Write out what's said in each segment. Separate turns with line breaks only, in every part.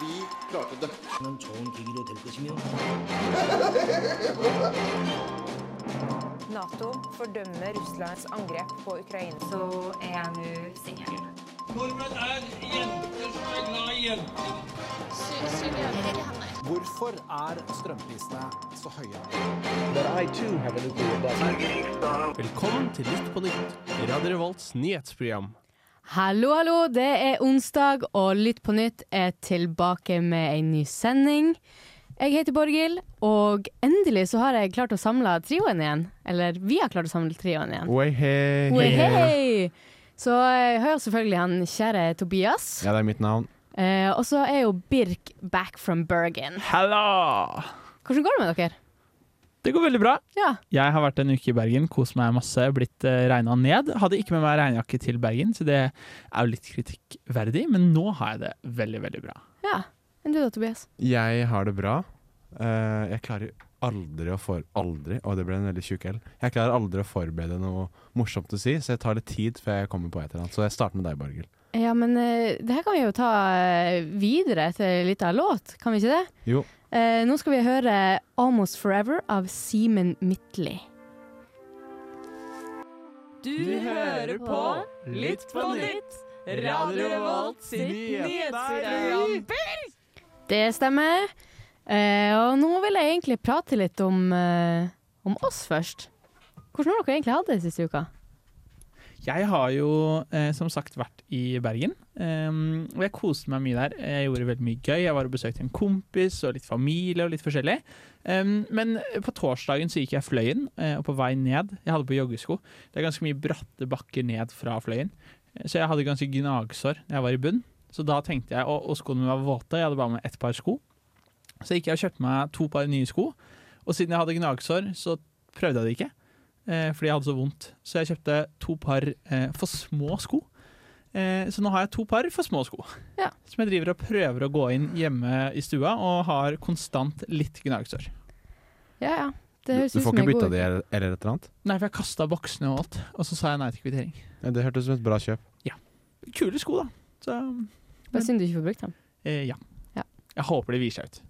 vi klarte det.
는 좋은 계기로 될 것이며
Nato fordømmer Russlands angrep på Ukraina.
så er jeg nå singel.
Nordmenn er jenter som er glad i jenter.
Hvorfor er strømprisene så høye?
Velkommen til Lytt på nytt, Radio Revolts nyhetsprogram.
Hallo, hallo. Det er onsdag, og Lytt på nytt er tilbake med en ny sending. Jeg heter Borghild, og endelig så har jeg klart å samle trioen igjen. Eller vi har klart å samle trioen igjen.
Oi, hei.
Oi, hei! Så jeg hører selvfølgelig han kjære Tobias.
Ja, det er mitt navn.
Eh, og så er jo Birk back from Bergen.
Halla!
Hvordan går det med dere?
Det går veldig bra.
Ja.
Jeg har vært en uke i Bergen, kost meg masse, blitt uh, regna ned. Hadde ikke med meg regnjakke til Bergen, så det er jo litt kritikkverdig, men nå har jeg det veldig, veldig bra.
ja. Enn du da, Tobias?
Jeg har det bra. Eh, jeg klarer aldri å for... Aldri? Å, det ble en veldig tjukk L. Jeg klarer aldri å forberede noe morsomt å si, så jeg tar litt tid før jeg kommer på et eller annet. Så jeg starter med deg, Borghild.
Ja, men eh, det her kan vi jo ta eh, videre til litt av låt, kan vi ikke det?
Jo.
Eh, nå skal vi høre 'Almost Forever' av Simen Midtly.
Du hører på Lytt på nytt, Radio Revolt sitt nyhetsprogram.
Det stemmer. Eh, og nå vil jeg egentlig prate litt om, eh, om oss først. Hvordan har dere egentlig hatt det siste uka?
Jeg har jo eh, som sagt vært i Bergen, ehm, og jeg koste meg mye der. Jeg gjorde veldig mye gøy. Jeg var og besøkte en kompis og litt familie og litt forskjellig. Ehm, men på torsdagen så gikk jeg Fløyen, eh, og på vei ned Jeg hadde på joggesko. Det er ganske mye bratte bakker ned fra Fløyen, Eh, så jeg hadde ganske gnagsår da jeg var i bunn. Så da tenkte jeg, og, og skoene mine var våte, jeg hadde bare med ett par sko. Så gikk jeg og kjøpte meg to par nye sko, og siden jeg hadde gnagsår, så prøvde jeg det ikke eh, fordi jeg hadde så vondt. Så jeg kjøpte to par eh, for små sko. Eh, så nå har jeg to par for små sko,
Ja.
som jeg driver og prøver å gå inn hjemme i stua, og har konstant litt gnagsår.
Ja, ja.
Du,
Det høres
du
ut
får
som
ikke
en
bytta
god
det eller eller et eller annet?
Nei, for jeg kasta boksene og alt, og så sa jeg nei til kvittering.
Ja, det hørtes ut som et bra kjøp.
Kule sko, da. Så
Bare synd du ikke får brukt dem.
eh, ja.
Ja.
Jeg håper de viser seg ut.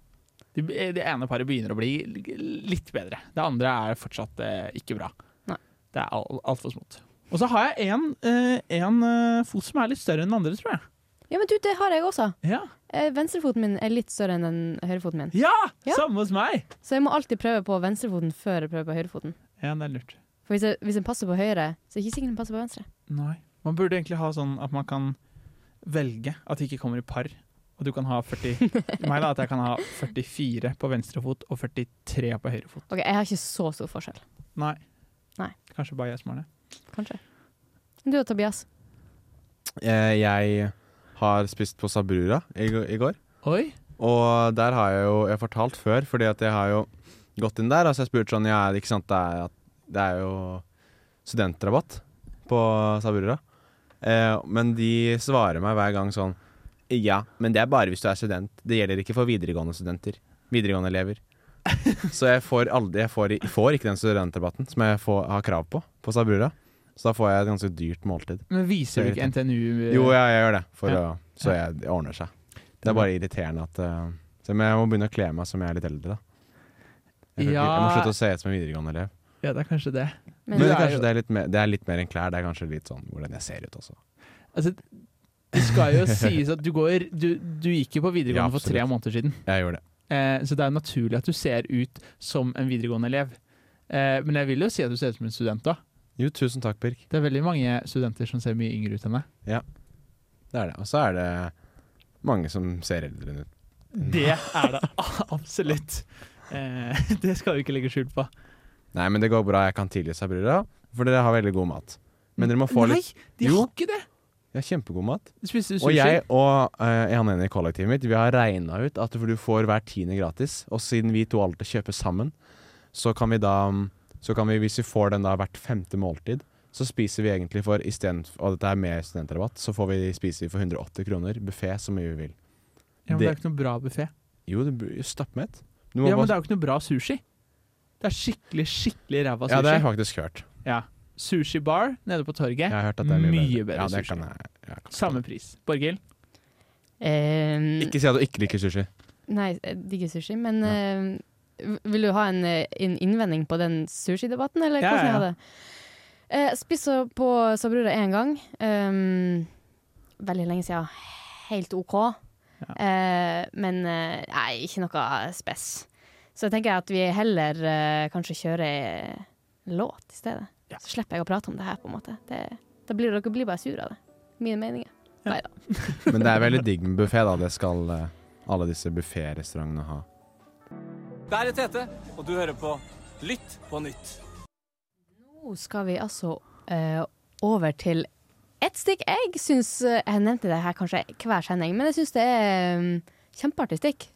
Det, det ene paret begynner å bli litt bedre. Det andre er fortsatt eh, ikke bra.
Nei.
Det er al- altfor smått. Og så har jeg en, eh, en eh, fot som er litt større enn den andre, tror jeg.
Ja, men du, det har jeg også.
Ja.
Eh, Venstrefoten min er litt større enn den høyrefoten min.
Ja,
Ja.
samme hos meg!
Så jeg må alltid prøve på venstrefoten før jeg prøver på høyrefoten.
Ja, det er lurt.
For hvis jeg, hvis jeg passer på høyre, så er det ikke sikkert den passer på venstre.
Nei. Man burde egentlig ha sånn at man kan velge at de ikke kommer i par. Og du kan ha 40 Meg da, at jeg kan ha 44 på venstre fot og 43 på høyre fot.
Ok, Jeg har ikke så stor forskjell,
Nei.
Nei.
Kanskje bare jeg som har det.
kanskje. Du og Tobias.
Eh, jeg har spist på Sabrura i, gå- i går.
Oi.
Og der har jeg jo Jeg har fortalt før, fordi at jeg har jo gått inn der. Altså jeg spurte sånn Ja, ikke sant, det er, at- det er jo studentrabatt på Sabrura. Eh, men de svarer meg hver gang sånn Ja, men det er bare hvis du er student. Det gjelder ikke for videregående studenter. Videregående elever. Så jeg får aldri Jeg får, jeg får ikke den studentrabatten som jeg får, har krav på på Sabrura. Så da får jeg et ganske dyrt måltid.
Men viser du ikke NTNU
Jo, jeg, jeg gjør det, for
Ja.
å, så jeg, det ordner seg. Det er bare irriterende at eh, så, Men jeg må begynne å kle meg som jeg er litt eldre, da. Jeg, kan ikke- jeg må
Ja.
slutte å se ut som en videregående elev.
Ja, det er kanskje det.
Men,
Men
du er
kanskje
jo-
det, er litt mer, det er litt mer enn klær. Det er kanskje litt sånn hvordan jeg ser ut også.
Altså, det skal jo sies at du går Du, du gikk jo på
Ja,
videregående for tre
absolutt.
måneder siden.
Jeg gjør det.
Eh, så det er jo naturlig at du ser ut som en videregående elev. Eh, men jeg vil jo si at du ser ut som en student, da.
Jo, tusen takk, Birk.
Det er veldig mange studenter som ser mye yngre ut enn deg.
Det er det. Og så er det mange som ser eldre ut.
Det er det a- absolutt. Eh, det skal vi ikke legge skjul på.
Nei, men det går bra. Jeg kan tilgi seg, brura, for dere har veldig god mat. Men dere må få
Nei,
litt
de
Jo.
har ikke det!
Ja, kjempegod mat.
Spiste du
Og
sushi?
jeg og eh, en annen i kollektivet mitt Vi har regna ut at du får hver tiende gratis. Og siden vi to alltid kjøper sammen, så kan vi da mm, så kan vi, Hvis vi får den da hvert femte måltid, så spiser vi egentlig for istedenfor Og dette er med studentrabatt, så får vi spise for 180 kroner. Buffé så mye vi vil.
ja, men det er
det-
jo ikke noe bra buffé.
Jo, du blir jo stappmett. Du må
Ja, men det
bare,
er jo ikke noe bra sushi. Det er skikkelig, skikkelig ræva
ja,
sushi.
det har jeg faktisk hørt.
Ja. Sushi bar nede på torget.
Jeg har hørt at det er mye,
Mye bedre
Ja, det
sushi.
kan jeg, jeg kan.
Samme pris. Borghild?
Eh,
Ikke si at du ikke liker sushi.
Nei, jeg digger sushi, men eh, v- vil du ha en, eh, en innvending på den sushidebatten, eller
Ja,
hvordan
ja,
er
ja.
det? Uh, spiste på Sabrura én gang. ehm, veldig lenge siden. Helt OK. Eh, men eh, nei, ikke noe spess. Så jeg tenker at vi heller eh, kanskje kjører ei låt i stedet. Så slipper jeg å prate om det her, på en måte. Det, da blir dere blir bare sur av det. Mine meninger.
Men det er veldig digg med buffé, da. Det skal eh, alle disse bufférestaurantene ha.
Der er Tete, og du hører på Lytt på nytt.
Nå skal vi altså eh, over til et stikk jeg syns eh, Jeg nevnte det her kanskje hver sending, men jeg syns det er mm, kjempeartig stikk.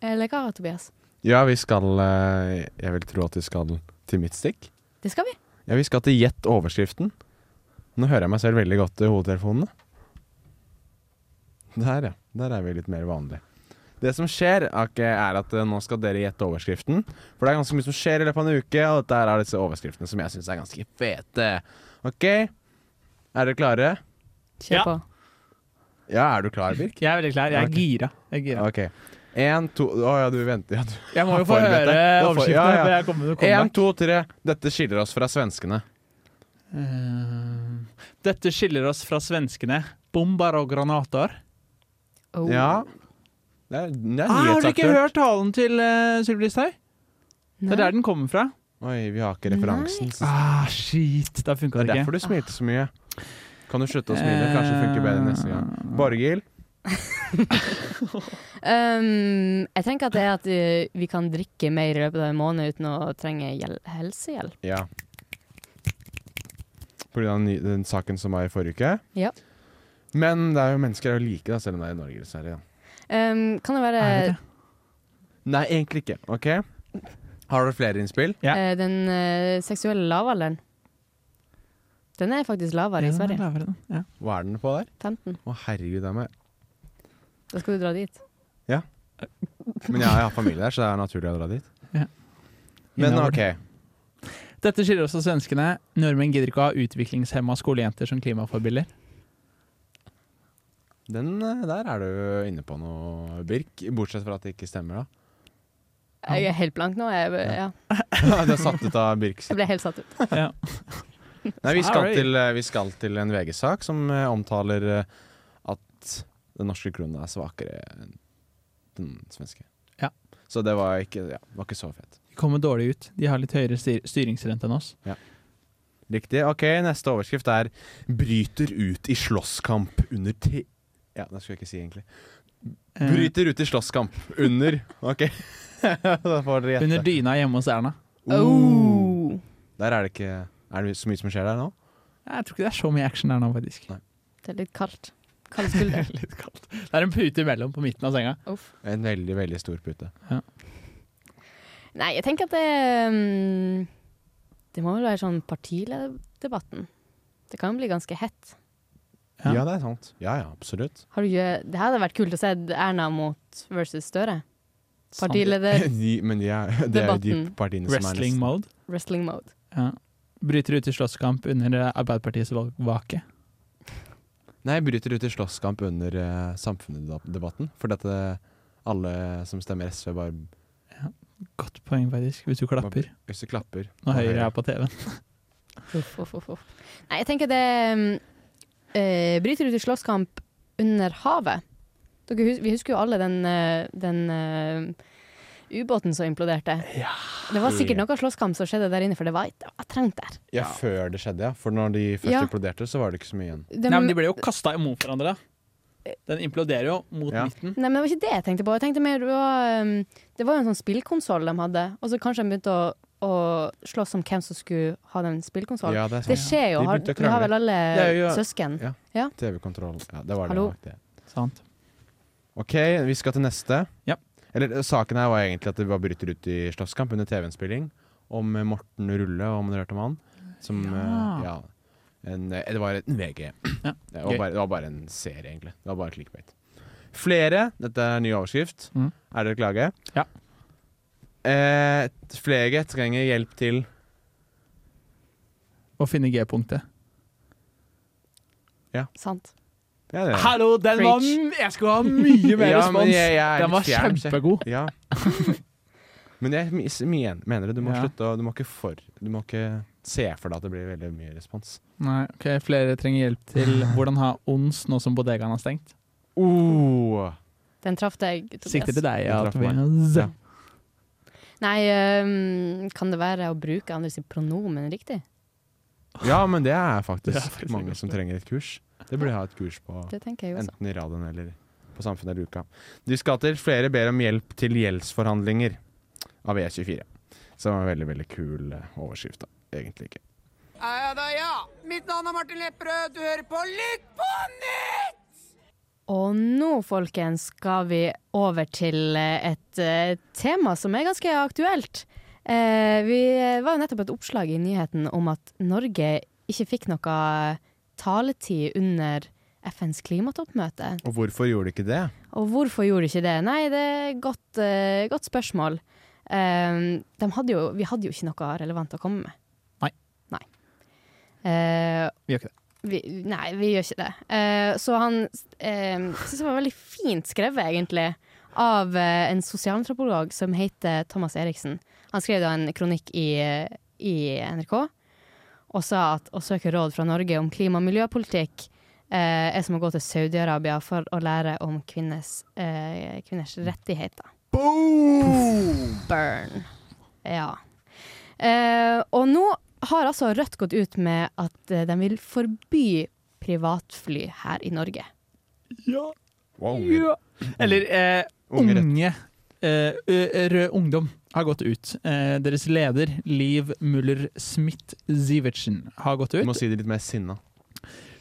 Eller hva, Tobias?
Ja, vi skal eh, Jeg vil tro at vi skal til mitt stikk.
Det skal vi.
Ja, vi skal til Gjett overskriften. Nå hører jeg meg selv veldig godt i hodetelefonene. Der, ja. Der er vi litt mer vanlig. Det som skjer, ok, er at eh, nå skal dere gjette overskriften. For det er ganske mye som skjer i løpet av en uke, og dette er disse overskriftene som jeg syns er ganske fete. OK? Er dere klare?
Kjør
Ja.
på.
Ja, er du klar, Birk?
Jeg er veldig klar. Jeg er
Ok.
gira. Jeg, er gira.
OK. Én, to Å ja, du venter. Ja, du.
jeg må jo få
Forberedt
høre
deg. Da får-
overskriften.
ja, ja.
for jeg kommer til å komme
Én, to, tre. Dette skiller oss fra svenskene.
Eh, Dette skiller oss fra svenskene. Bomber og granater.
Oh.
Ja. Det er, det er
Ah, har du ikke
nyhetsaktør.
hørt talen til uh, Sylvi Listhaug? Det
Nei.
er der den kommer fra.
Oi, vi har ikke referansen. så-
Ah, shit. Da
Det
funka
er
det ikke.
derfor du smilte så mye. Kan du slutte å smile? Kanskje det funker bedre neste gang.
Ah.
Borghild,
Um, jeg tenker at det er at eh, vi kan drikke mer i løpet av en måned uten å trenge hjel helsehjelp.
ja. På grunn av den, ny- den saken som var i forrige uke.
Ja.
Men det er jo mennesker er jo like, da, selv om det er i Norge. Dessverre, ja.
Um, kan det være
Er det
Nei, egentlig ikke. Ok? Har du flere innspill?
Ja.
eh, den eh, seksuelle lavalderen? Den er faktisk lavere i
Ja, den er
Sverige.
lavere, den. Ja.
Hva er den på der?
15.
Å, herregud, det er meg.
Da skal du dra dit.
Men jeg, jeg har familie der, så det er naturlig å dra dit.
Ja.
Men
Innover.
OK.
Dette skiller oss fra svenskene. Nordmenn gidder ikke å ha utviklingshemma skolejenter som klimaforbilder.
Den eh, der er du inne på noe, Birk. Bortsett fra at det ikke stemmer, da.
Jeg er helt blank nå. Jeg, ja.
du er satt ut av Birks
jeg ble helt satt ut.
Ja.
Nei, vi skal,
Sorry.
til, eh, vi skal til en VG-sak som eh, omtaler eh, at den norske kronen er svakere enn den svenske.
Ja.
Så det var ikke, ja, var ikke så fett.
De kommer dårlig ut. De har litt høyere styr styringsrente enn oss.
Riktig. Ok, neste overskrift er 'Bryter ut i slåsskamp under te... Ja, det skulle jeg ikke si, egentlig.
Eh,
Bryter ut i slåsskamp under OK. da får dere
under
gjette.
dyna hjemme hos Erna.
Oh. Der er det ikke Er det så mye som skjer der nå?
Jeg tror ikke det er så mye action der nå, faktisk.
Det er litt kaldt. Kald skulder.
litt kaldt. Det er en pute imellom på midten av senga.
Uff.
En veldig, veldig stor pute.
Nei, jeg tenker at det mm, Det må vel være sånn partilederdebatten. Det kan bli ganske hett.
Ja.
Ja, det er sant. Ja, ja, absolutt.
Har du, ikke- det hadde vært kult å se Erna mot versus Støre. Partileder
de, men de er, det er jo de
Debatten.
partiene som er
Wrestling
nesten
mode.
wrestling mode.
Ja. Bryter ut i slåsskamp under Arbeiderpartiets valgvake.
Nei, bryter ut i slåsskamp under uh, samfunnsdebatten. For dette alle som stemmer SV, bare
Godt poeng, faktisk, hvis du klapper
hvis du klapper.
når Høyre er på TV.
Uff, uff, uff, uff. Nei, jeg tenker det mm, eh, Bryter ut i slåsskamp under havet. Dere, hus- vi husker jo alle den, eh, den eh, ubåten som imploderte. Det var sikkert noe slåsskamp som skjedde der inne, for det var, det var trangt der.
Ja, før det skjedde, ja. For når de først
Ja.
imploderte, så var det ikke så mye igjen.
De,
Nei, men De ble jo kasta imot hverandre.
Eh.
da. Den imploderer jo mot
Ja.
midten.
Nei, men Det var ikke det jeg tenkte på. Jeg tenkte mer, Det var, um, det var jo en sånn spillkonsoll de hadde, og så kanskje de begynte å, å slåss om hvem som skulle ha den spillkonsollen.
Ja, det er
Det
sant.
skjer jo.
De
Har,
begynte å
vi
krangle.
har vel alle
Det er jo-
søsken.
Ja. TV-kontroll. Ja, det var det
Hallo?
nok det.
Sant.
OK, vi skal til neste.
Ja.
Eller eh, saken her var egentlig at det bare bryter ut i slåsskamp under TV-innspilling. Om eh, Morten Rulle, om dere hørte om han. Som
Ja.
eh, ja en, eh, Det var en VG.
Ja,
Det,
gøy.
var bare, det var bare en serie, egentlig. Det var bare clickbait. Flere Dette er en ny overskrift.
Mm.
Er dere klare?
Ja.
Eh, flere trenger hjelp til
Å finne G-punktet.
Sant.
Ja, det er.
Hallo, den var
Preach.
m- Jeg skulle ha mye mer
Ja, men
respons!
jeg, jeg er
Den
litt
var
fjern, så jeg-
kjempegod.
Ja. Men jeg mis- men- mener det. Du må
Ja.
slutte å Du må ikke for Du må ikke se for deg at det blir veldig mye respons.
Nei, ok, Flere trenger hjelp til
Ah.
hvordan ha ons nå som bodegaen har stengt.
Oh.
Den traff deg, Tobias.
Sikter til deg, ja.
Den traff meg.
Tobias.
Ja.
Nei, øhm, kan det være å bruke andres pronomen riktig?
Ja, men det er
Det
faktisk,
er faktisk
mange som trenger et kurs. Det burde jeg ha et kurs på.
Det tenker jeg jo også.
Enten i radioen eller på Samfunnet eller Uka. Dyskater, flere ber om hjelp til gjeldsforhandlinger av E E24. Som er en veldig, veldig kul eh, overskrift, da. Egentlig ikke.
Og nå, folkens, skal vi over til eh, et eh, tema som er ganske aktuelt. Eh, vi eh, var jo nettopp et oppslag i nyheten om at Norge ikke fikk noe taletid under FNs klimatoppmøte.
Og hvorfor gjorde de ikke det?
Og hvorfor gjorde de ikke det? Nei, det er et godt, eh, godt spørsmål. Eh, de hadde jo, vi hadde jo ikke noe relevant å komme med.
Nei.
Nei. Eh,
Vi gjør ikke det.
vi, nei, vi gjør ikke det. Eh, så han um, syns det var veldig fint skrevet, egentlig, av eh, en sosialantropolog som heter Thomas Eriksen. Han skrev da en kronikk i, eh, i NRK og sa at å søke råd fra Norge om klima- og miljøpolitikk eh, er som å gå til Saudi-Arabia for å lære om kvinnes, eh, kvinners rettigheter. Burn. Ja. Eh, og nå har altså Rødt gått ut med at eh, de vil forby privatfly her i Norge.
Ja.
Wow, unger.
Ja. Eller eh,
Unger, rett.
unge eh, ø- Rød Ungdom har gått ut. Eh, deres leder, Liv Muller-Smith-Sivertsen, har gått
Du må
ut.
si det litt mer sinna.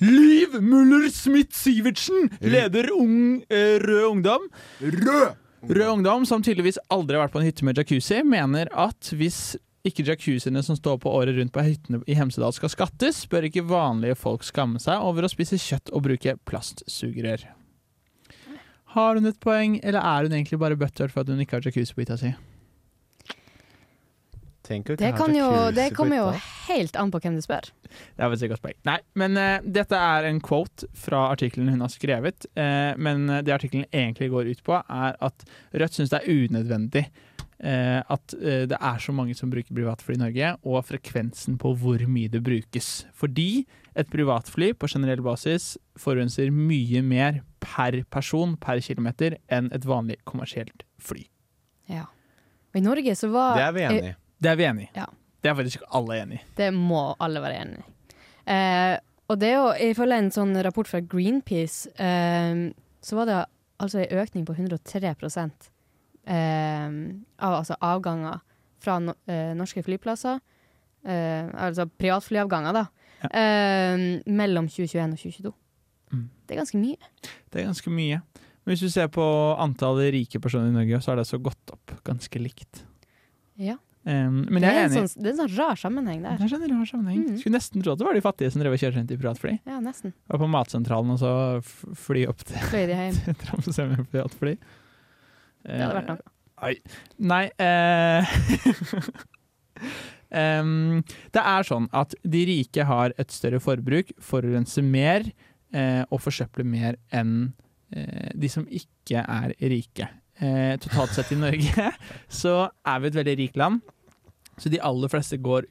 Liv Muller-Smith-Sivertsen, leder ung, eh, Rød Ungdom.
Rød!
Rød Ungdom, som tydeligvis aldri har vært på en hytte med jacuzzi, mener at hvis ikke jacuzziene som står på året rundt på hyttene i Hemsedal skal skattes, bør ikke vanlige folk skamme seg over å spise kjøtt og bruke plastsugerør. Har hun et poeng, eller er hun egentlig bare butthurt for at hun ikke har jacuzzi på hytta si?
Tenk å ikke
Det,
ha
kan jo,
jacuzzi
det
på
kommer jo
hytta.
helt an på hvem du spør.
Det er vel sikkert poeng. Nei, men eh, dette er en quote fra artikkelen hun har skrevet. eh, men eh, det artikkelen egentlig går ut på, er at Rødt syns det er unødvendig eh, at eh, det er så mange som bruker privatfly i Norge, og frekvensen på hvor mye det brukes. Fordi et privatfly på generell basis forurenser mye mer per person per kilometer enn et vanlig kommersielt fly.
Ja. Og I Norge så var
Det er vi
eh,
enig i.
Det er vi enig i.
Ja.
Det er faktisk alle enig i.
Det må alle være enig i. Eh, og det er jo, ifølge en sånn rapport fra Greenpeace, eh, så var det altså en økning på 103 eh, av altså avganger fra no eh, norske flyplasser. Eh, altså privatflyavganger, da. Eh, mellom 2021 og 2022.
Mm.
Det er ganske mye.
Det er ganske mye. Men hvis du ser på antallet rike personer i Norge, så har det også gått opp ganske likt.
Ja.
Um, men jeg er
det, er
enig.
en sånn, det er en sånn rar sammenheng
Det
der.
er sånn rar sammenheng.
Mhm.
Skulle nesten tro at det var de fattige som drev og kjørte rundt i privatfly.
Ja, nesten.
Var på matsentralen og så f- fly opp til
Fløy de hjem.
Tromsø med privatfly.
Det hadde
Eh,
vært noe.
Nei eh, em, Det er sånn at de rike har et større forbruk, forurenser mer eh, og forsøpler mer enn eh, de som ikke er rike. Eh, totalt sett i Norge så er vi et veldig rikt land, så de aller fleste går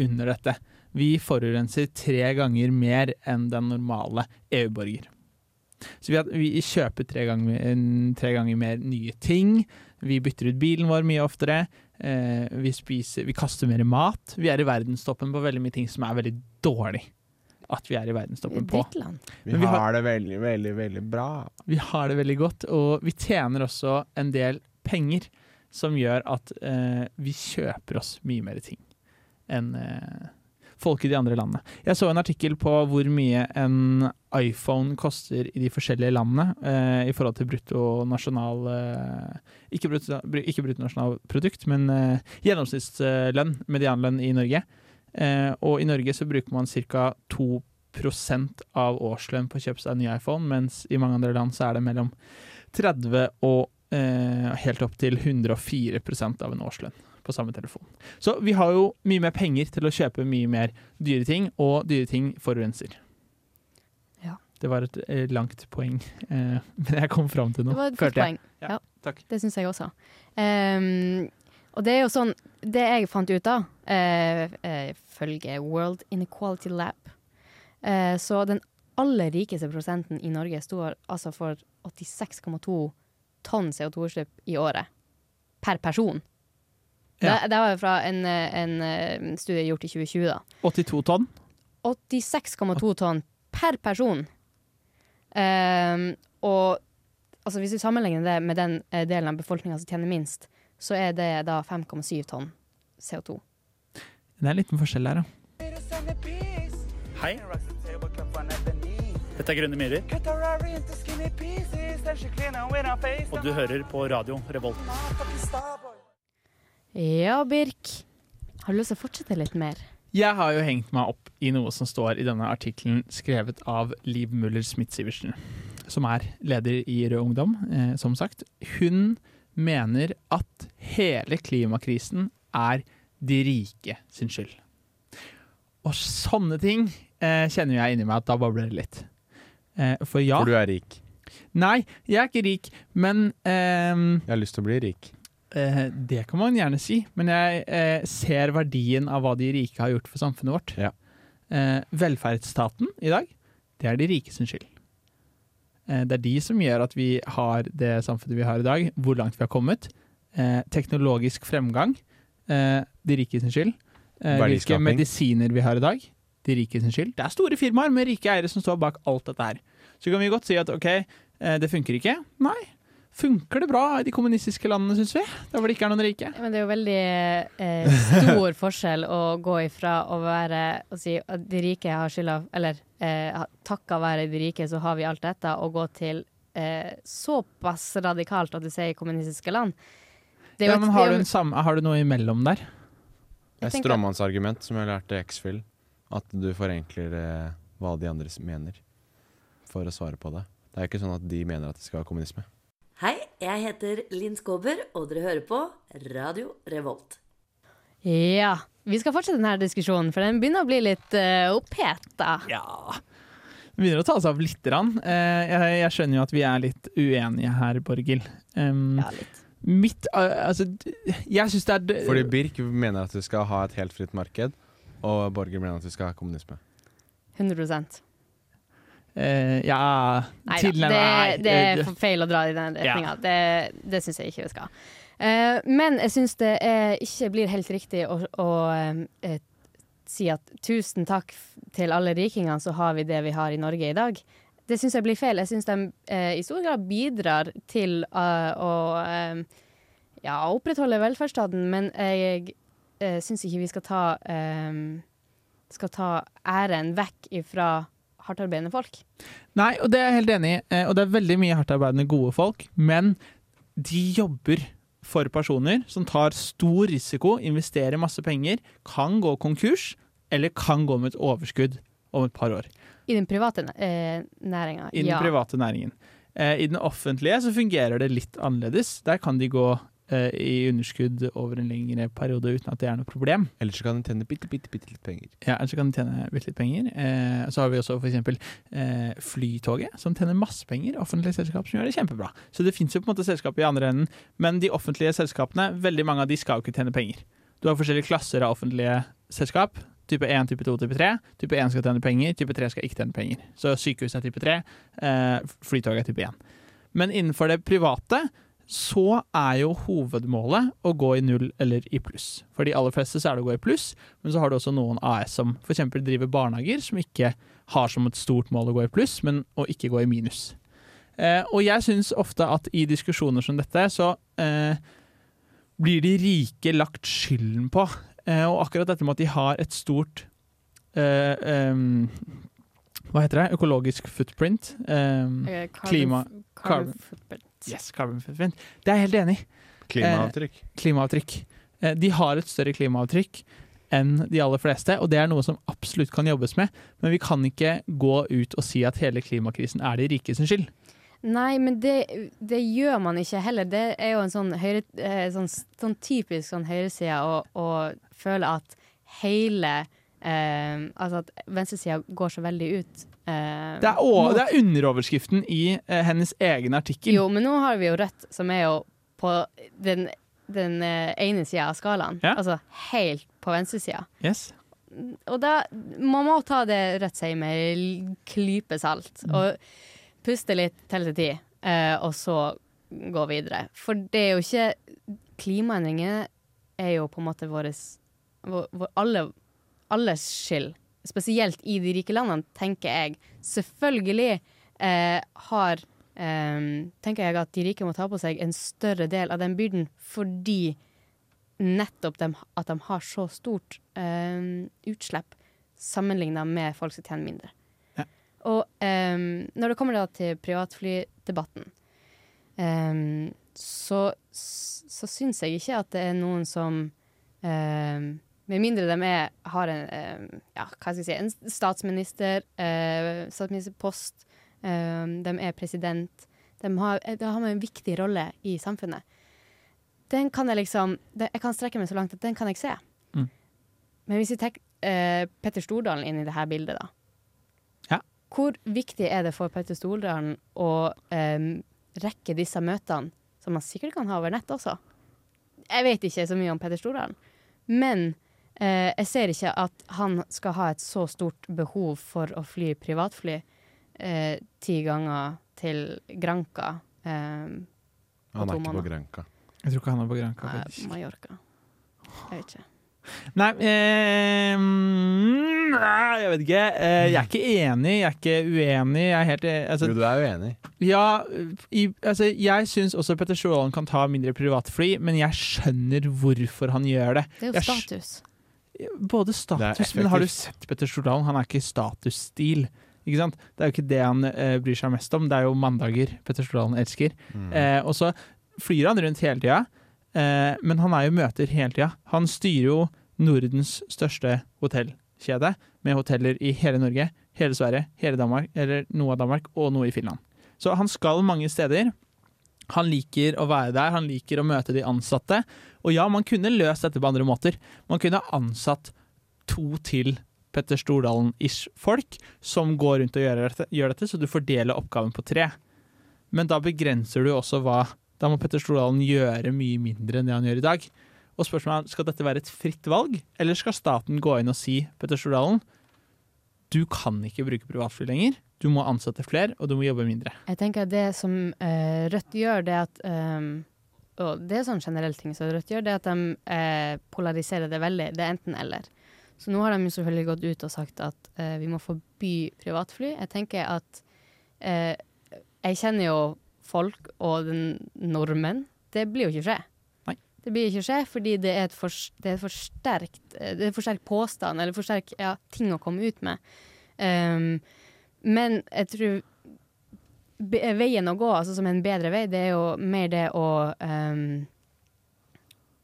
under dette. Vi forurenser tre ganger mer enn den normale EU-borger. Så vi, har- vi kjøper tre ganger, tre ganger mer nye ting. Vi bytter ut bilen vår mye oftere. Eh, vi, spiser, vi kaster mer mat. Vi er i verdenstoppen på veldig mye ting som er veldig dårlig. At vi er i verdenstoppen på.
Drittland.
Vi,
Men vi har-
har det veldig, veldig, veldig bra.
Vi har det veldig godt, og vi tjener også en del penger, som gjør at eh, vi kjøper oss mye mer ting enn eh, folk i de andre landene. Jeg så en artikkel på hvor mye en iPhone koster i de forskjellige landene eh, i forhold til bruttonasjonal eh, Ikke brutto- bru- ikke bruttonasjonalprodukt, men eh, gjennomsnittslønn, medianlønn i Norge. Eh, og i Norge så bruker man ca. 2 prosent av årslønn på å kjøpe seg en ny iPhone, mens i mange andre land så er det mellom 30 og eh, helt opp til 104 prosent av en årslønn på samme telefon. Så vi har jo mye mer penger til å kjøpe mye mer dyre ting, og dyre ting forurenser. Det var et eh, langt poeng, eh, men jeg kom fram til
Det
noe,
var et godt
jeg.
poeng.
Ja,
Ja,
takk.
Det syns jeg også. Ehm, og det er jo sånn Det jeg fant ut av, eh, eh, følge World Inequality Lab eh, Så den aller rikeste prosenten i Norge står altså for 86,2 tonn CO2-utslipp i året. Per person.
Ja.
Det, det var jo fra en, eh, en eh, studie gjort i 2020, da.
82 tonn.
86,2 tonn per person. Ehm, og altså, hvis vi sammenligner det med den eh, delen av befolkninga som tjener minst, så er det da 5,7 tonn CO2.
Det er en liten forskjell der, ja.
Hei. Dette er Grønne myrer, og du hører på radio Revolt.
Ja, Birk. Har du lyst til å fortsette litt mer?
Jeg har jo hengt meg opp i noe som står i denne artikkelen skrevet av Liv Muller Smith-Sivertsen, som er leder i Rød Ungdom, eh, som sagt. Hun mener at hele klimakrisen er de rike sin skyld. Og sånne ting eh, kjenner jeg inni meg at da babler det litt. Eh, for ja
For du er rik.
Nei, jeg er ikke rik, men ehm,
Jeg har lyst til å bli rik.
Eh, det kan man gjerne si, men jeg eh, ser verdien av hva de rike har gjort for samfunnet vårt.
Ja.
Eh, velferdsstaten i dag, det er de rike sin skyld. Eh, det er de som gjør at vi har det samfunnet vi har i dag, hvor langt vi har kommet. Eh, teknologisk fremgang, eh, de rike sin skyld. Eh, hvilke
Verdiskaping.
medisiner vi har i dag, de rike sin skyld. Det er store firmaer med rike eiere som står bak alt dette her. Så kan vi godt si at ok, eh, det funker ikke. Nei. Funker det bra i de kommunistiske landene, syns vi? Der hvor det ikke er noen rike?
Ja, Men det er jo veldig eh, stor forskjell å gå ifra å være å si at de rike har skylda Eller eh, ha- takka være de rike, så har vi alt dette, og gå til eh, såpass radikalt at du sier kommunistiske land. Det er jo
Ja,
et-
men har
det
du,
er jo-
en samme, har du noe imellom der?
Jeg
Et
tenker-
stråmannsargument som jeg lærte i X-Fill. At du forenkler eh, hva de andre s- mener, for å svare på det. Det er jo ikke sånn at de mener at det skal være kommunisme.
Hei, jeg heter Linn Skåber, og dere hører på Radio Revolt.
Ja. Vi skal fortsette denne diskusjonen, for den begynner å bli litt eh, oppheta.
Det begynner å ta seg av litt. Rann. Eh, Jeg, jeg skjønner jo at vi er litt uenige her, Borghild. Um,
ja, litt.
Mitt eh, Altså, d- jeg syns det er d-
Fordi Birk mener at du skal ha et helt fritt marked, og Borger mener at du skal ha kommunisme.
100
eh, Ja
Nei da,
tilnærmet- nei,
det, det er
eh,
for feil å dra i den
Ja.
retninga. Det, det syns jeg ikke vi skal. Eh, men jeg syns det eh, ikke blir helt riktig å, å eh, eh, si at tusen takk f- til alle rikingene, så har vi det vi har i Norge i dag. Det syns jeg blir feil. Jeg syns de eh, i stor grad bidrar til eh, å eh, ja, opprettholde velferdsstaten, men jeg eh, syns ikke vi skal ta, eh, skal ta æren vekk ifra hardtarbeidende folk.
Nei, og det er jeg helt enig i. Eh, Og det er veldig mye hardtarbeidende gode folk, men de jobber for personer som tar stor risiko, investerer masse penger, kan gå konkurs, eller kan gå med et overskudd om et par år.
I den private eh, næringa.
I den
ja.
private næringen. Eh, I den offentlige så fungerer det litt annerledes. Der kan de gå eh, i underskudd over en lengre periode uten at det er noe problem.
Eller så kan du tjene bitte, bitte, bitte litt penger.
Ja, Ellers så kan de tjene bitte litt penger. Eh, så har vi også f.eks. Eh, Flytoget, som tjener masse penger. Offentlige selskap som gjør det kjempebra. Så det fins jo på en måte selskap i andre enden, men de offentlige selskapene, veldig mange av de skal jo ikke tjene penger. Du har forskjellige klasser av offentlige selskap. Type 1, type 2, type 3. Type 1 skal tjene penger, type 3 skal ikke tjene penger. Så sykehus er type 3, eh, flytoget er type 1. Men innenfor det private så er jo hovedmålet å gå i null eller i pluss. For de aller fleste så er det å gå i pluss, men så har du også noen AS som f.eks. driver barnehager, som ikke har som et stort mål å gå i pluss, men å ikke gå i minus. Eh, og jeg syns ofte at i diskusjoner som dette, så eh, blir de rike lagt skylden på. Eh, og akkurat dette med at de har et stort eh, em, Hva heter det? Økologisk footprint. em,
Eh, carbon-
klima...
carbon
carbon-
footprint.
Yes, carbon footprint. Det er jeg helt enig i.
Klimaavtrykk.
klimaavtrykk. Eh, De har et større klimaavtrykk enn de aller fleste, og det er noe som absolutt kan jobbes med, men vi kan ikke gå ut og si at hele klimakrisen er de rike sin skyld.
Nei, men det, det gjør man ikke heller. Det er jo en sånn, høyre, eh, sånn, sånn typisk sånn høyreside å, å føle at hele eh, Altså at venstresida går så veldig ut eh,
Det er, å-
mot-
det er underoverskriften i eh, hennes egen artikkel.
Jo, men nå har vi jo rødt, som er jo på den, den eh, ene sida av skalaen.
Ja.
Altså helt på venstresida.
Yes.
Og da man må ta det rødt sier med en klype salt. Og puste litt, telle til ti, eh, og så gå videre. For det er jo ikke Klimaendringer er jo på en måte våres- vår, vår alle, alles skyld. Spesielt i de rike landene, tenker jeg. Selvfølgelig eh, har eh, Tenker jeg at de rike må ta på seg en større del av den byrden fordi nettopp dem, at de har så stort eh, utslipp sammenlignet med folk som tjener mindre. Og eh, når det kommer da til privatflydebatten, eh, så, så syns jeg ikke at det er noen som eh, Med mindre de er, har en, eh, ja, hva skal jeg si, en statsminister, eh, statsministerpost, eh, de er president De har, de har en viktig rolle i samfunnet den kan jeg liksom den, Jeg kan strekke meg så langt at den kan jeg se.
Mm.
Men hvis vi tar eh, Petter Stordalen inn i det her bildet, da. Hvor viktig er det for Petter Stordalen å eh, rekke disse møtene, som man sikkert kan ha over nett også? Jeg vet ikke så mye om Petter Stordalen, men eh, jeg ser ikke at han skal ha et så stort behov for å fly privatfly eh, ti ganger til Granca. Eh, på
Han er
to
ikke på
måneder.
Granca.
Jeg tror ikke han er på Granca.
Nei,
faktisk.
Mallorca. Jeg vet ikke.
Nei, eh, mm, nei, jeg vet ikke. Eh, jeg er ikke enig, jeg er ikke uenig. Jeg er helt, eh, altså,
Jo, du er jo enig.
Ja, i, altså, jeg syns også Petter Stordalen kan ta mindre privatfly, men jeg skjønner hvorfor han gjør det.
Det er jo
Jeg
status.
skj- Både status, men har du sett Petter Stordalen? Han er ikke statusstil. Ikke sant? Det er jo ikke det han eh, bryr seg mest om, det er jo mandager Petter Stordalen elsker.
Mm.
Eh, og så flyr han rundt hele tida, eh, men han er jo i møter hele tida. Han styrer jo Nordens største hotellkjede, med hoteller i hele Norge, hele Sverige, hele Danmark, eller noe av Danmark, og noe i Finland. Så han skal mange steder. Han liker å være der, han liker å møte de ansatte. Og ja, man kunne løst dette på andre måter. Man kunne ha ansatt to til Petter Stordalen-ish folk som går rundt og gjør dette, gjør dette, så du fordeler oppgaven på tre. Men da begrenser du også hva Da må Petter Stordalen gjøre mye mindre enn det han gjør i dag. Og spørsmålet er, skal dette være et fritt valg, eller skal staten gå inn og si Petter Stordalen, du kan ikke bruke privatfly lenger, du må ansette flere, og du må jobbe mindre.
Jeg tenker at det som eh, Rødt gjør, det er at ehm, Og det er sånn generell ting som Rødt gjør, det er at de eh, polariserer det veldig. Det er enten-eller. Så nå har de jo selvfølgelig gått ut og sagt at eh, vi må forby privatfly. Jeg tenker at eh, Jeg kjenner jo folk og den nordmenn. Det blir jo ikke skje. Det blir ikke skje fordi det er et, for, det er et forsterkt eh, Det er for sterk påstand, eller for sterk ja, ting å komme ut med. Ehm, men jeg tror be- veien å gå, altså som en bedre vei, det er jo mer det å ehm,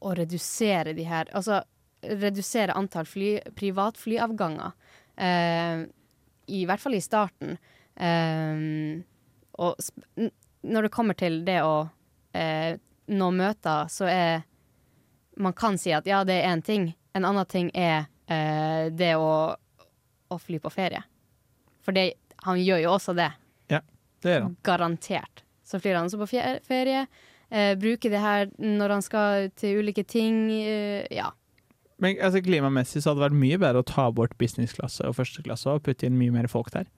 Å redusere de her Altså redusere antall fly, privatflyavganger. eh, I hvert fall i starten. Ehm, og sp n- når det kommer til det å eh, nå møter, så er Man kan si at ja, det er én ting. En annen ting er eh, det å, å fly på ferie. For det, han gjør jo også det.
Ja, det gjør han.
Garantert. Så flyr han også på fjer- ferie. eh, bruker det her når han skal til ulike ting. eh, ja.
Men altså, klimamessig så hadde det vært mye bedre å ta bort businessklasse og førsteklasse og putte inn mye mer folk der.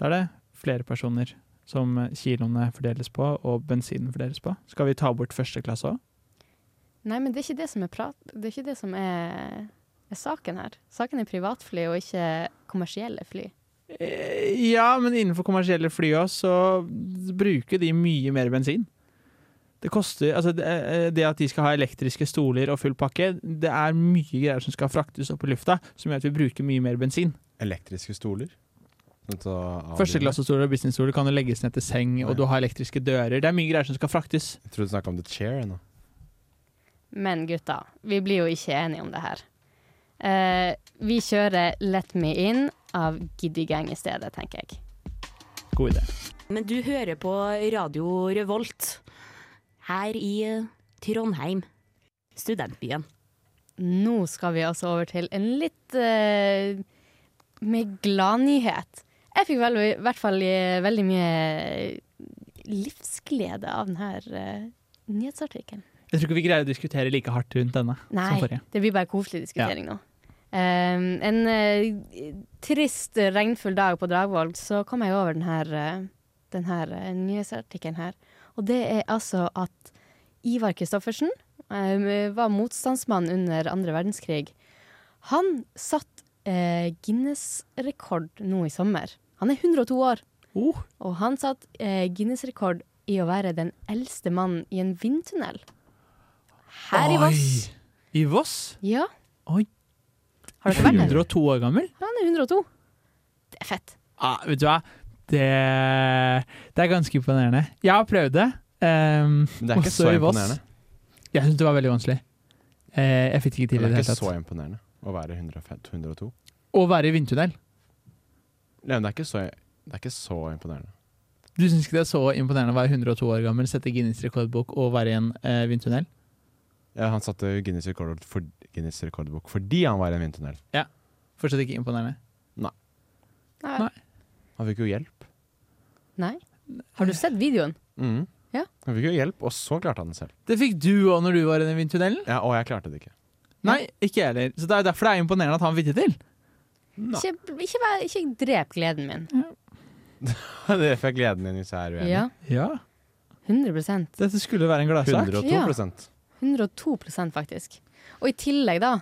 Da er det flere personer som kiloene fordeles på, og bensinen fordeles på. Skal vi ta bort førsteklasse òg?
Nei, men det er ikke det som er prat... Det er ikke det som er, er saken her. Saken er privatfly og ikke kommersielle fly.
Eh, Ja, men innenfor kommersielle fly òg, så bruker de mye mer bensin. Det koster Altså, det, det at de skal ha elektriske stoler og full pakke, det er mye greier som skal fraktes opp i lufta, som gjør at vi bruker mye mer bensin.
Elektriske stoler. Sånn til å avlive.
Førsteklassestoler og businessstoler kan jo legges ned til seng, og du har elektriske dører. Det er mye greier som skal fraktes.
Jeg trodde du snakka om the chair ennå.
Men gutta, vi blir jo ikke enige om det her. Eh, vi kjører Let Me In av Giddy Gang i stedet, tenker jeg.
God idé.
Men du hører på Radio Revolt her i eh, Trondheim, studentbyen.
Nå skal vi altså over til en litt eh, mer gladnyhet. Jeg fikk vel, i hvert fall eh, veldig mye livsglede av denne eh, nyhetsartikkelen.
Jeg tror ikke vi greier å diskutere like hardt rundt denne
Nei,
som forrige.
det blir bare koselig diskutering nå. Ehm, en eh, trist, regnfull dag på Dragvoll, så kom jeg over denne, uh, denne eh, nyhetsartikkelen her. Og det er altså at Ivar Kristoffersen eh, var motstandsmann under andre verdenskrig. Han satt eh, Guinness-rekord nå i sommer. Han er 102 år. Og han satt eh, Guinness-rekord i å være den eldste mannen i en vindtunnel. Her i Voss.
I Voss?
Ja.
Oi.
Har dere vært der?
102 år gammel?
Han er 102. Det er fett.
Ja, vet du hva? Det, det er ganske imponerende. Jeg har prøvd det. ehm,
Men det er ikke
også
så
i Voss.
imponerende.
Jeg syns det var veldig vanskelig. Eh, jeg fikk det ikke
Det
til i
er
det
ikke
hele
så
tatt.
imponerende å være 105 102.
Å være i vindtunnel.
Nei, men det er ikke så, det er ikke så imponerende.
Du syns ikke det er så imponerende å være 102 år gammel, sette Guinness rekordbok og være i en eh, vindtunnel?
Ja, han satte Guinness, rekord for, Guinness rekordbok fordi han var i en vindtunnel.
Ja. Fortsatt ikke imponerende.
Nei.
Han fikk jo hjelp.
Nei. Har du sett videoen?
Mhm.
Ja.
Han fikk jo hjelp, og så klarte han det selv.
Det fikk du òg når du var i den vindtunnelen.
Ja, Og jeg klarte det ikke.
Nei, ikke jeg heller. Så det er derfor det er imponerende at han fikk det til.
Ikke, ikke, vær- ikke drep gleden min.
det er derfor gleden din især uenig.
Ja. 100
Dette skulle være en gladsak.
102
102 faktisk. Og i tillegg, da.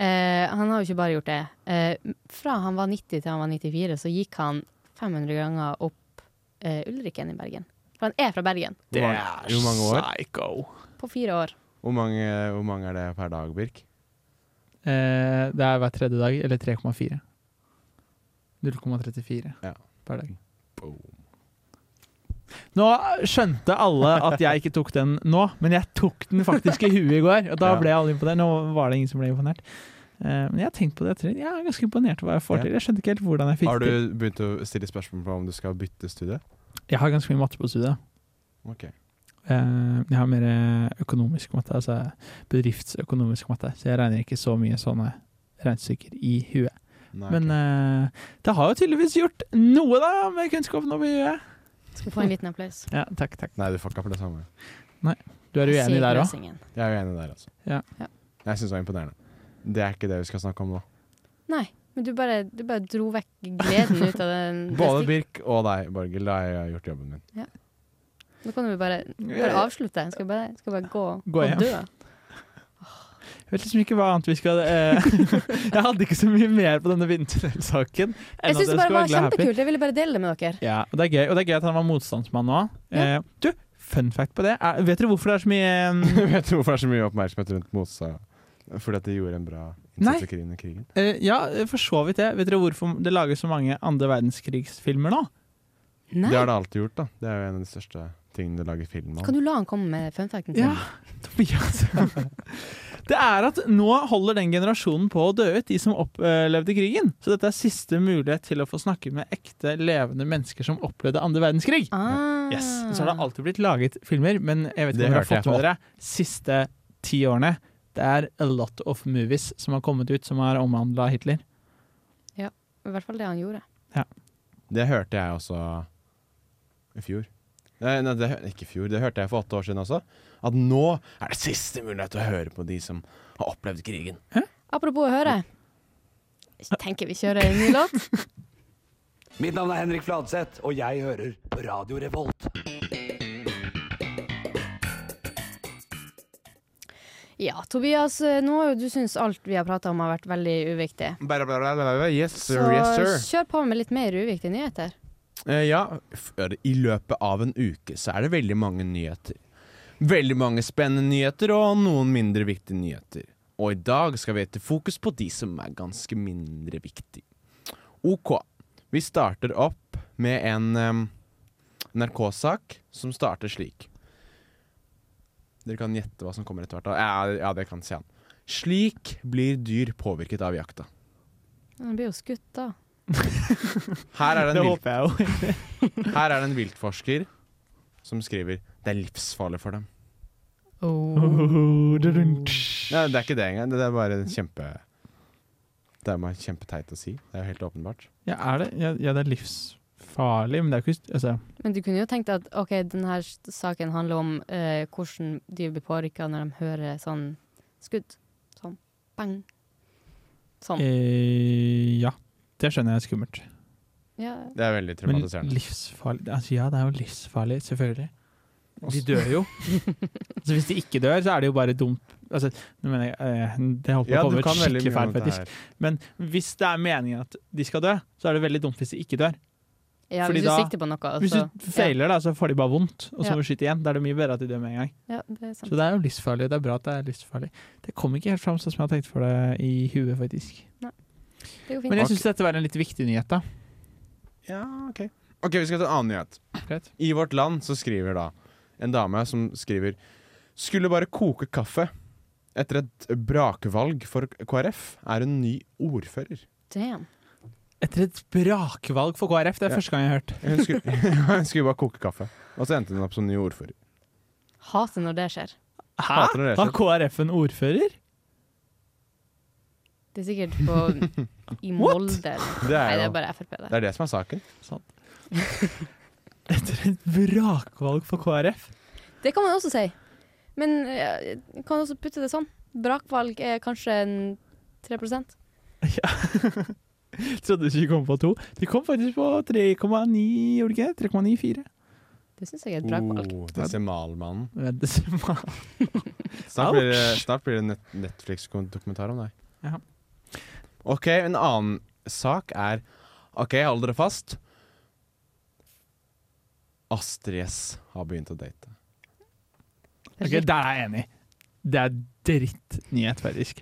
Eh, han har jo ikke bare gjort det. Eh, fra han var 90 til han var 94, så gikk han 500 ganger opp eh, Ulriken i Bergen. For han er fra Bergen.
Hvor mange- hvor mange år?
psycho.
På fire år.
Hvor mange, hvor mange er det per dag, Birk?
Eh, det er hver tredje dag, eller 3,4. 0,34 per dag. Nå skjønte alle at jeg ikke tok den nå, men jeg tok den faktisk i huet i går. Og da
Ja.
ble alle imponert. Nå var det ingen som ble imponert. Eh, men jeg har tenkt på det. etter det. Jeg er ganske imponert over hva jeg får
Ja.
til. Jeg skjønte ikke helt hvordan jeg fikk
Har
det til.
du begynt å stille spørsmål på om du skal bytte studie?
Jeg har ganske mye matte på studiet.
Ok.
Eh, Jeg har mer eh, økonomisk matte, altså bedriftsøkonomisk matte, så jeg regner ikke så mye sånne regnestykker i huet.
Nei,
Men eh, det har jo tydeligvis gjort noe, da, med kunnskapen over huet.
Skal få en liten applaus.
Ja, takk, takk.
Nei, du får ikke for det samme.
Nei, Du er
Jeg ser
uenig der
ikke
òg?
løsningen.
Jeg er uenig der, altså.
Ja.
Jeg syns det var imponerende. Det er ikke det vi skal snakke om nå.
Nei, men du bare, du bare dro vekk gleden ut av den.
Både Birk og deg, Borghild, da har jeg gjort jobben min.
Ja. Nå kan du bare, bare avslutte. Skal bare, skal bare gå,
Gå hjem.
og dø.
Jeg vet liksom ikke hva annet vi skal eh, Jeg hadde ikke så mye mer på denne vindtunnelsaken.
Jeg syns det bare var kjempekult. Jeg ville bare dele det med dere.
Ja, og det er gøy, og det er gøy at han var motstandsmann òg. Eh, du, fun fact på det. Er, vet dere hvorfor det er så mye
Mm.
eh,
Vet du hvorfor det er så mye oppmerksomhet rundt motstand? Fordi at de gjorde en bra
Nei.
innsats i krigen- krigen.
Eh, ja, for så vidt det. Vet dere hvorfor det lages så mange andre verdenskrigsfilmer nå?
Det har det alltid gjort, da. Det er jo en av de største tingene det lager film
Kan
om.
du la han komme med funfacten sin?
Ja, Tobias. det er at nå holder den generasjonen på å dø ut, de som opplevde krigen. Så dette er siste mulighet til å få snakke med ekte, levende mennesker som opplevde andre verdenskrig.
Ah.
Yes. Så har det alltid blitt laget filmer, men jeg vet ikke om dere
Det
har
hørte jeg
fått med
på.
dere siste ti årene. Det er a lot of movies som har kommet ut, som har omhandla Hitler.
Ja, I hvert fall det han gjorde.
Det hørte jeg også i fjor. Nei, nei det, hø- ikke i fjor. Det hørte jeg for åtte år siden også. At nå er det siste mulighet til å høre på de som har opplevd krigen.
Apropos å høre. Jeg tenker vi kjører en ny låt.
Mitt navn er Henrik Fladseth, og jeg hører på Radio Revolt.
Ja, Tobias, eh, nå har jo du syntes alt vi har prata om har vært veldig uviktig.
Yes,
Så
sir, yes, sir.
kjør på med litt mer uviktige nyheter.
Eh, ja, f- i løpet av en uke så er det veldig mange nyheter. Veldig mange spennende nyheter og noen mindre viktige nyheter. Og i dag skal vi etter fokus på de som er ganske mindre viktige. Ok, vi starter opp med en em, NRK-sak som starter slik. Dere kan gjette hva som kommer etter hvert. da. Ja, ja det kan se an. Slik blir dyr påvirket av jakta.
Han blir jo skutt, da.
Her er det en,
Det
vilt... Her er det en viltforsker som skriver det er livsfarlig for dem.
Oh.
Oh,
Nei, det er ikke det engang. Det er bare en kjempe... Det er jo meg kjempeteit å si. Det er jo helt åpenbart.
Ja, er det? Ja, ja, det er livsfarlig, men det er jo ikke altså,
Men du kunne jo tenkt at ok, denne saken handler om eh, hvordan de blir påvirka når de hører sånn skudd. Sånn bang. Sånn.
eh, Ja. Det skjønner jeg er skummelt.
Ja.
Det er veldig traumatiserende.
Men livsfarlig altså, Ja, det er jo livsfarlig, selvfølgelig. De dør jo. så hvis de ikke dør, så er det jo bare dumt. Altså, nå mener jeg, eh, det holdt på
Ja,
å
du
komme
kan
ut
veldig
skikkelig
mye om
feil,
dette
faktisk. Men hvis det er meningen at de skal dø, så er det veldig dumt hvis de ikke dør.
Ja,
Fordi
hvis du
da-
sikter på noe,
Hvis
Altså,
så-
du feiler, da, så får de bare vondt, og så
Ja.
må du skyte igjen. Da er det mye bedre at de dør med en gang.
Ja, det er sant.
Så det er jo livsfarlig. Det er bra at det er livsfarlig. Det kom ikke helt fram sånn som jeg har tenkt for det i huet, faktisk.
Det går fint.
Men jeg syns dette var en litt viktig nyhet, da.
Ja, ok. Ok, vi skal til en annen nyhet. I Vårt Land så skriver da en dame som skriver Skulle bare koke kaffe. Etter et brakvalg for KrF er hun ny ordfører.
Damn.
Etter et brakvalg for KrF, det er
Ja.
første gang jeg har hørt.
Hun skulle, hun skulle bare koke kaffe, og så endte hun opp som ny ordfører.
Hater når det skjer.
Hæ?
Hater når det
Har
skjer.
KrF en ordfører?
Det er sikkert på i
What?
Molde. eller-
Det er
Nei, det
jo-
er bare Frp, det.
Det er det som er saken.
Brakvalg for KrF?
Det kan man også si. Men eh, jeg kan også putte det sånn. Brakvalg er kanskje en 3
Trodde ikke de kom på to. De kom faktisk på 3,9, gjorde de ikke det? 3,94.
Det syns jeg er et brakvalg.
Oh, Desimalmannen.
Ja, desimal.
Snart blir det, snart blir det net Netflix-dokumentar om deg.
Ja.
Ok, en annen sak er Ok, hold dere fast. Astrid S har begynt å date.
Ok, Der er jeg enig. Det er drittnyhet, faktisk.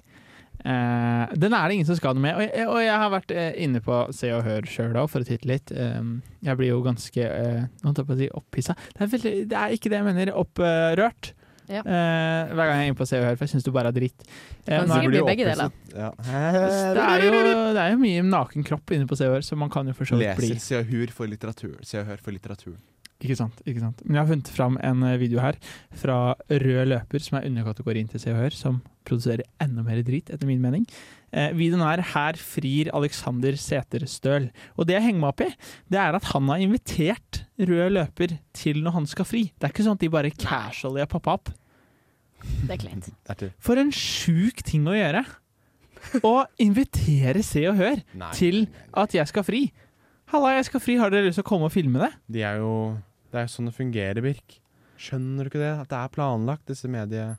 Eh, den er det ingen som skal noe med. Og jeg, og jeg har vært eh, inne på Se og Hør sjøl òg, for å titte litt. Eh, jeg blir jo ganske eh, holdt jeg på å si opphissa. Det, er veldig- det er ikke det jeg mener. Opprørt.
Ja.
Eh, hver gang jeg er inne på Se og Hør, for jeg syns du bare er dritt. Eh,
kan
nå er-
sikkert bli begge deler.
Ja.
Eh, det er, jo, det er jo mye naken kropp inne på Se og Hør, så man kan jo for så vidt bli
Leser Se og Hør for litteratur. Se og Hør for litteratur.
Ikke sant, ikke sant. Men jeg har funnet fram en eh, video her fra Rød løper, som er underkategorien til Se og Hør, som produserer enda mer drit, etter min mening. Eh, videoen er 'Her frir Alexander Seterstøl'. Og det jeg henger meg opp i, det er at han har invitert Rød løper til når han skal fri. Det er ikke sånn at de bare casually har poppa opp.
Det er kleint.
For en sjuk ting å gjøre! Å invitere Se og Hør
Nei,
til at jeg skal fri. Halla, jeg skal fri, har dere lyst til å komme og filme det?
De er jo, det er jo sånn det fungerer, Birk. Skjønner du ikke det? At det er planlagt, disse mediehusene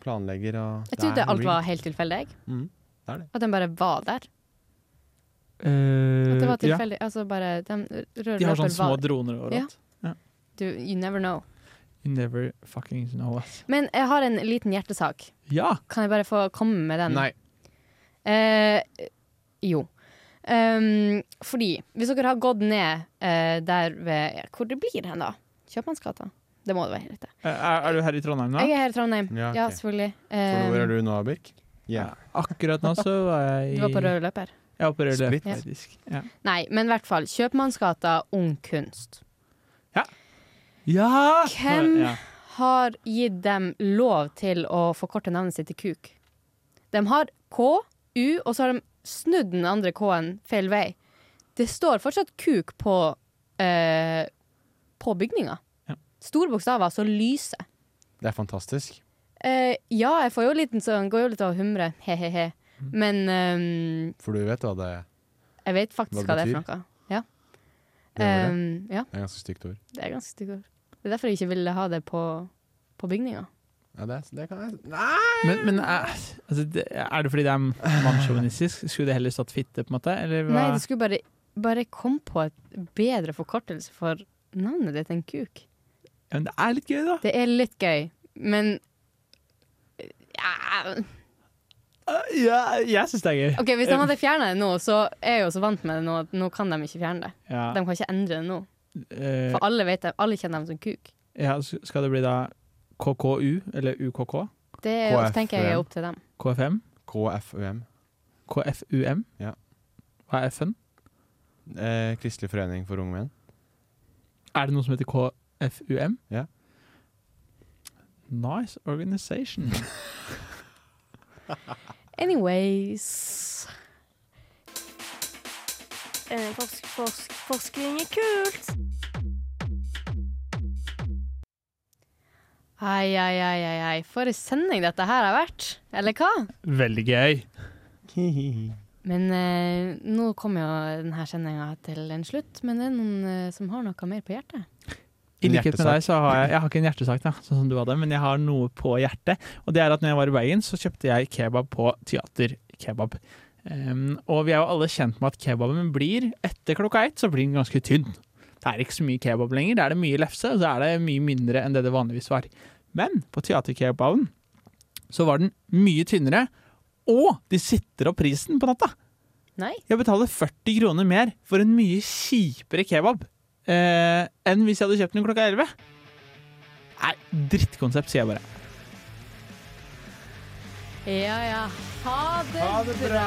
planlegger og
Jeg trodde
er
alt var
rigged.
helt tilfeldig. jeg.
Mm, det er det.
At de bare var der.
At
Det
Eh,
var tilfeldig. Altså bare de, røde
De har
løper
sånne små
var-
droner
Ja.
overalt. Ja.
Du, you never know.
You never fucking know, ass.
Men jeg har en liten hjertesak.
Ja!
Kan jeg bare få komme med den?
Nei.
Eh, jo. Ehm, fordi hvis dere har gått ned eh, der ved Hvor det blir hen, da? Kjøpmannsgata? Det må det være. riktig.
Eh, Er, er du her i Trondheim nå?
Jeg er her i Trondheim.
Ja,
Ja,
ok.
selvfølgelig.
For
Ehm,
hvor er du nå, Birk? Ja.
Akkurat nå så var jeg i
Du var på rød løper?
Jeg var på rød løper,
Splitt. Ja.
faktisk. Ja.
Nei, men i hvert fall. Kjøpmannsgata Ung Kunst.
Ja!
Hvem
Ja.
har gitt dem lov til å forkorte navnet sitt til KUK? De har K, U, og så har de snudd den andre K-en feil vei. Det står fortsatt KUK på, eh, på bygninga. Store bokstaver som lyser.
Det er fantastisk.
Eh, ja, jeg får jo litt sånn, går jo litt av å humre, he-he-he.
Mm.
Men ehm,
For du vet hva det
jeg vet
Hva
faktisk hva,
det
det er
betyr?
for noe. Ja.
Gjør
Ehm, ja,
Det er ganske stygt ord.
det er ganske stygt ord. Det er derfor jeg ikke ville ha det på, på bygninga.
Ja, det, er- det kan jeg
Men, men er, altså, det- er det fordi det er mannssjåvinistisk? Skulle det heller stått fitte, på en måte? Eller hva?
Nei, du skulle bare, bare komme på et bedre forkortelse for navnet ditt enn kuk.
Ja, men det er litt gøy, da.
Det er litt gøy, men ja.
Ja, jeg syns det er gøy.
OK, hvis de hadde fjerna det nå, så er jeg jo så vant med det nå at nå kan de ikke fjerne det.
Ja.
De kan ikke endre det nå.
Eh,
For alle vet det, alle kjenner dem som kuk.
ja, s- Skal det bli da KKU, eller UKK?
Det er jo-
KFUM.
tenker jeg er opp til dem.
KFM?
KFUM.
KFUM?
Ja.
Hva er F-en?
Eh, Kristelig forening for unge menn.
Er det noe som heter KFUM?
Ja.
Nice organization.
Anyways
Eh, forsk, forsk, forskning er kult.
Ai, ai, ai, ai, ai. For en sending dette her har vært. Eller hva?
Veldig gøy.
Men eh, nå kommer jo denne sendinga til en slutt. Men det er noen eh, som har noe mer på hjertet.
I likhet med deg så har jeg, jeg har ikke en hjertesak, da, sånn som du hadde, men jeg har noe på hjertet. Og det er at når jeg var i Bergen, så kjøpte jeg kebab på Teater Kebab. Ehm, og vi er jo alle kjent med at kebaben blir, etter klokka ett, så blir den ganske tynn. Det er ikke så mye kebab lenger, det er det mye lefse, og så er det mye mindre enn det det vanligvis var. Men på teaterkebaben så var den mye tynnere, og de sitter opp prisen på natta.
Nei.
Jeg betaler 40 kroner mer for en mye kjipere kebab eh, enn hvis jeg hadde kjøpt den klokka 11. Nei, drittkonsept, sier jeg bare.
Ja, ja. Ha det, bra.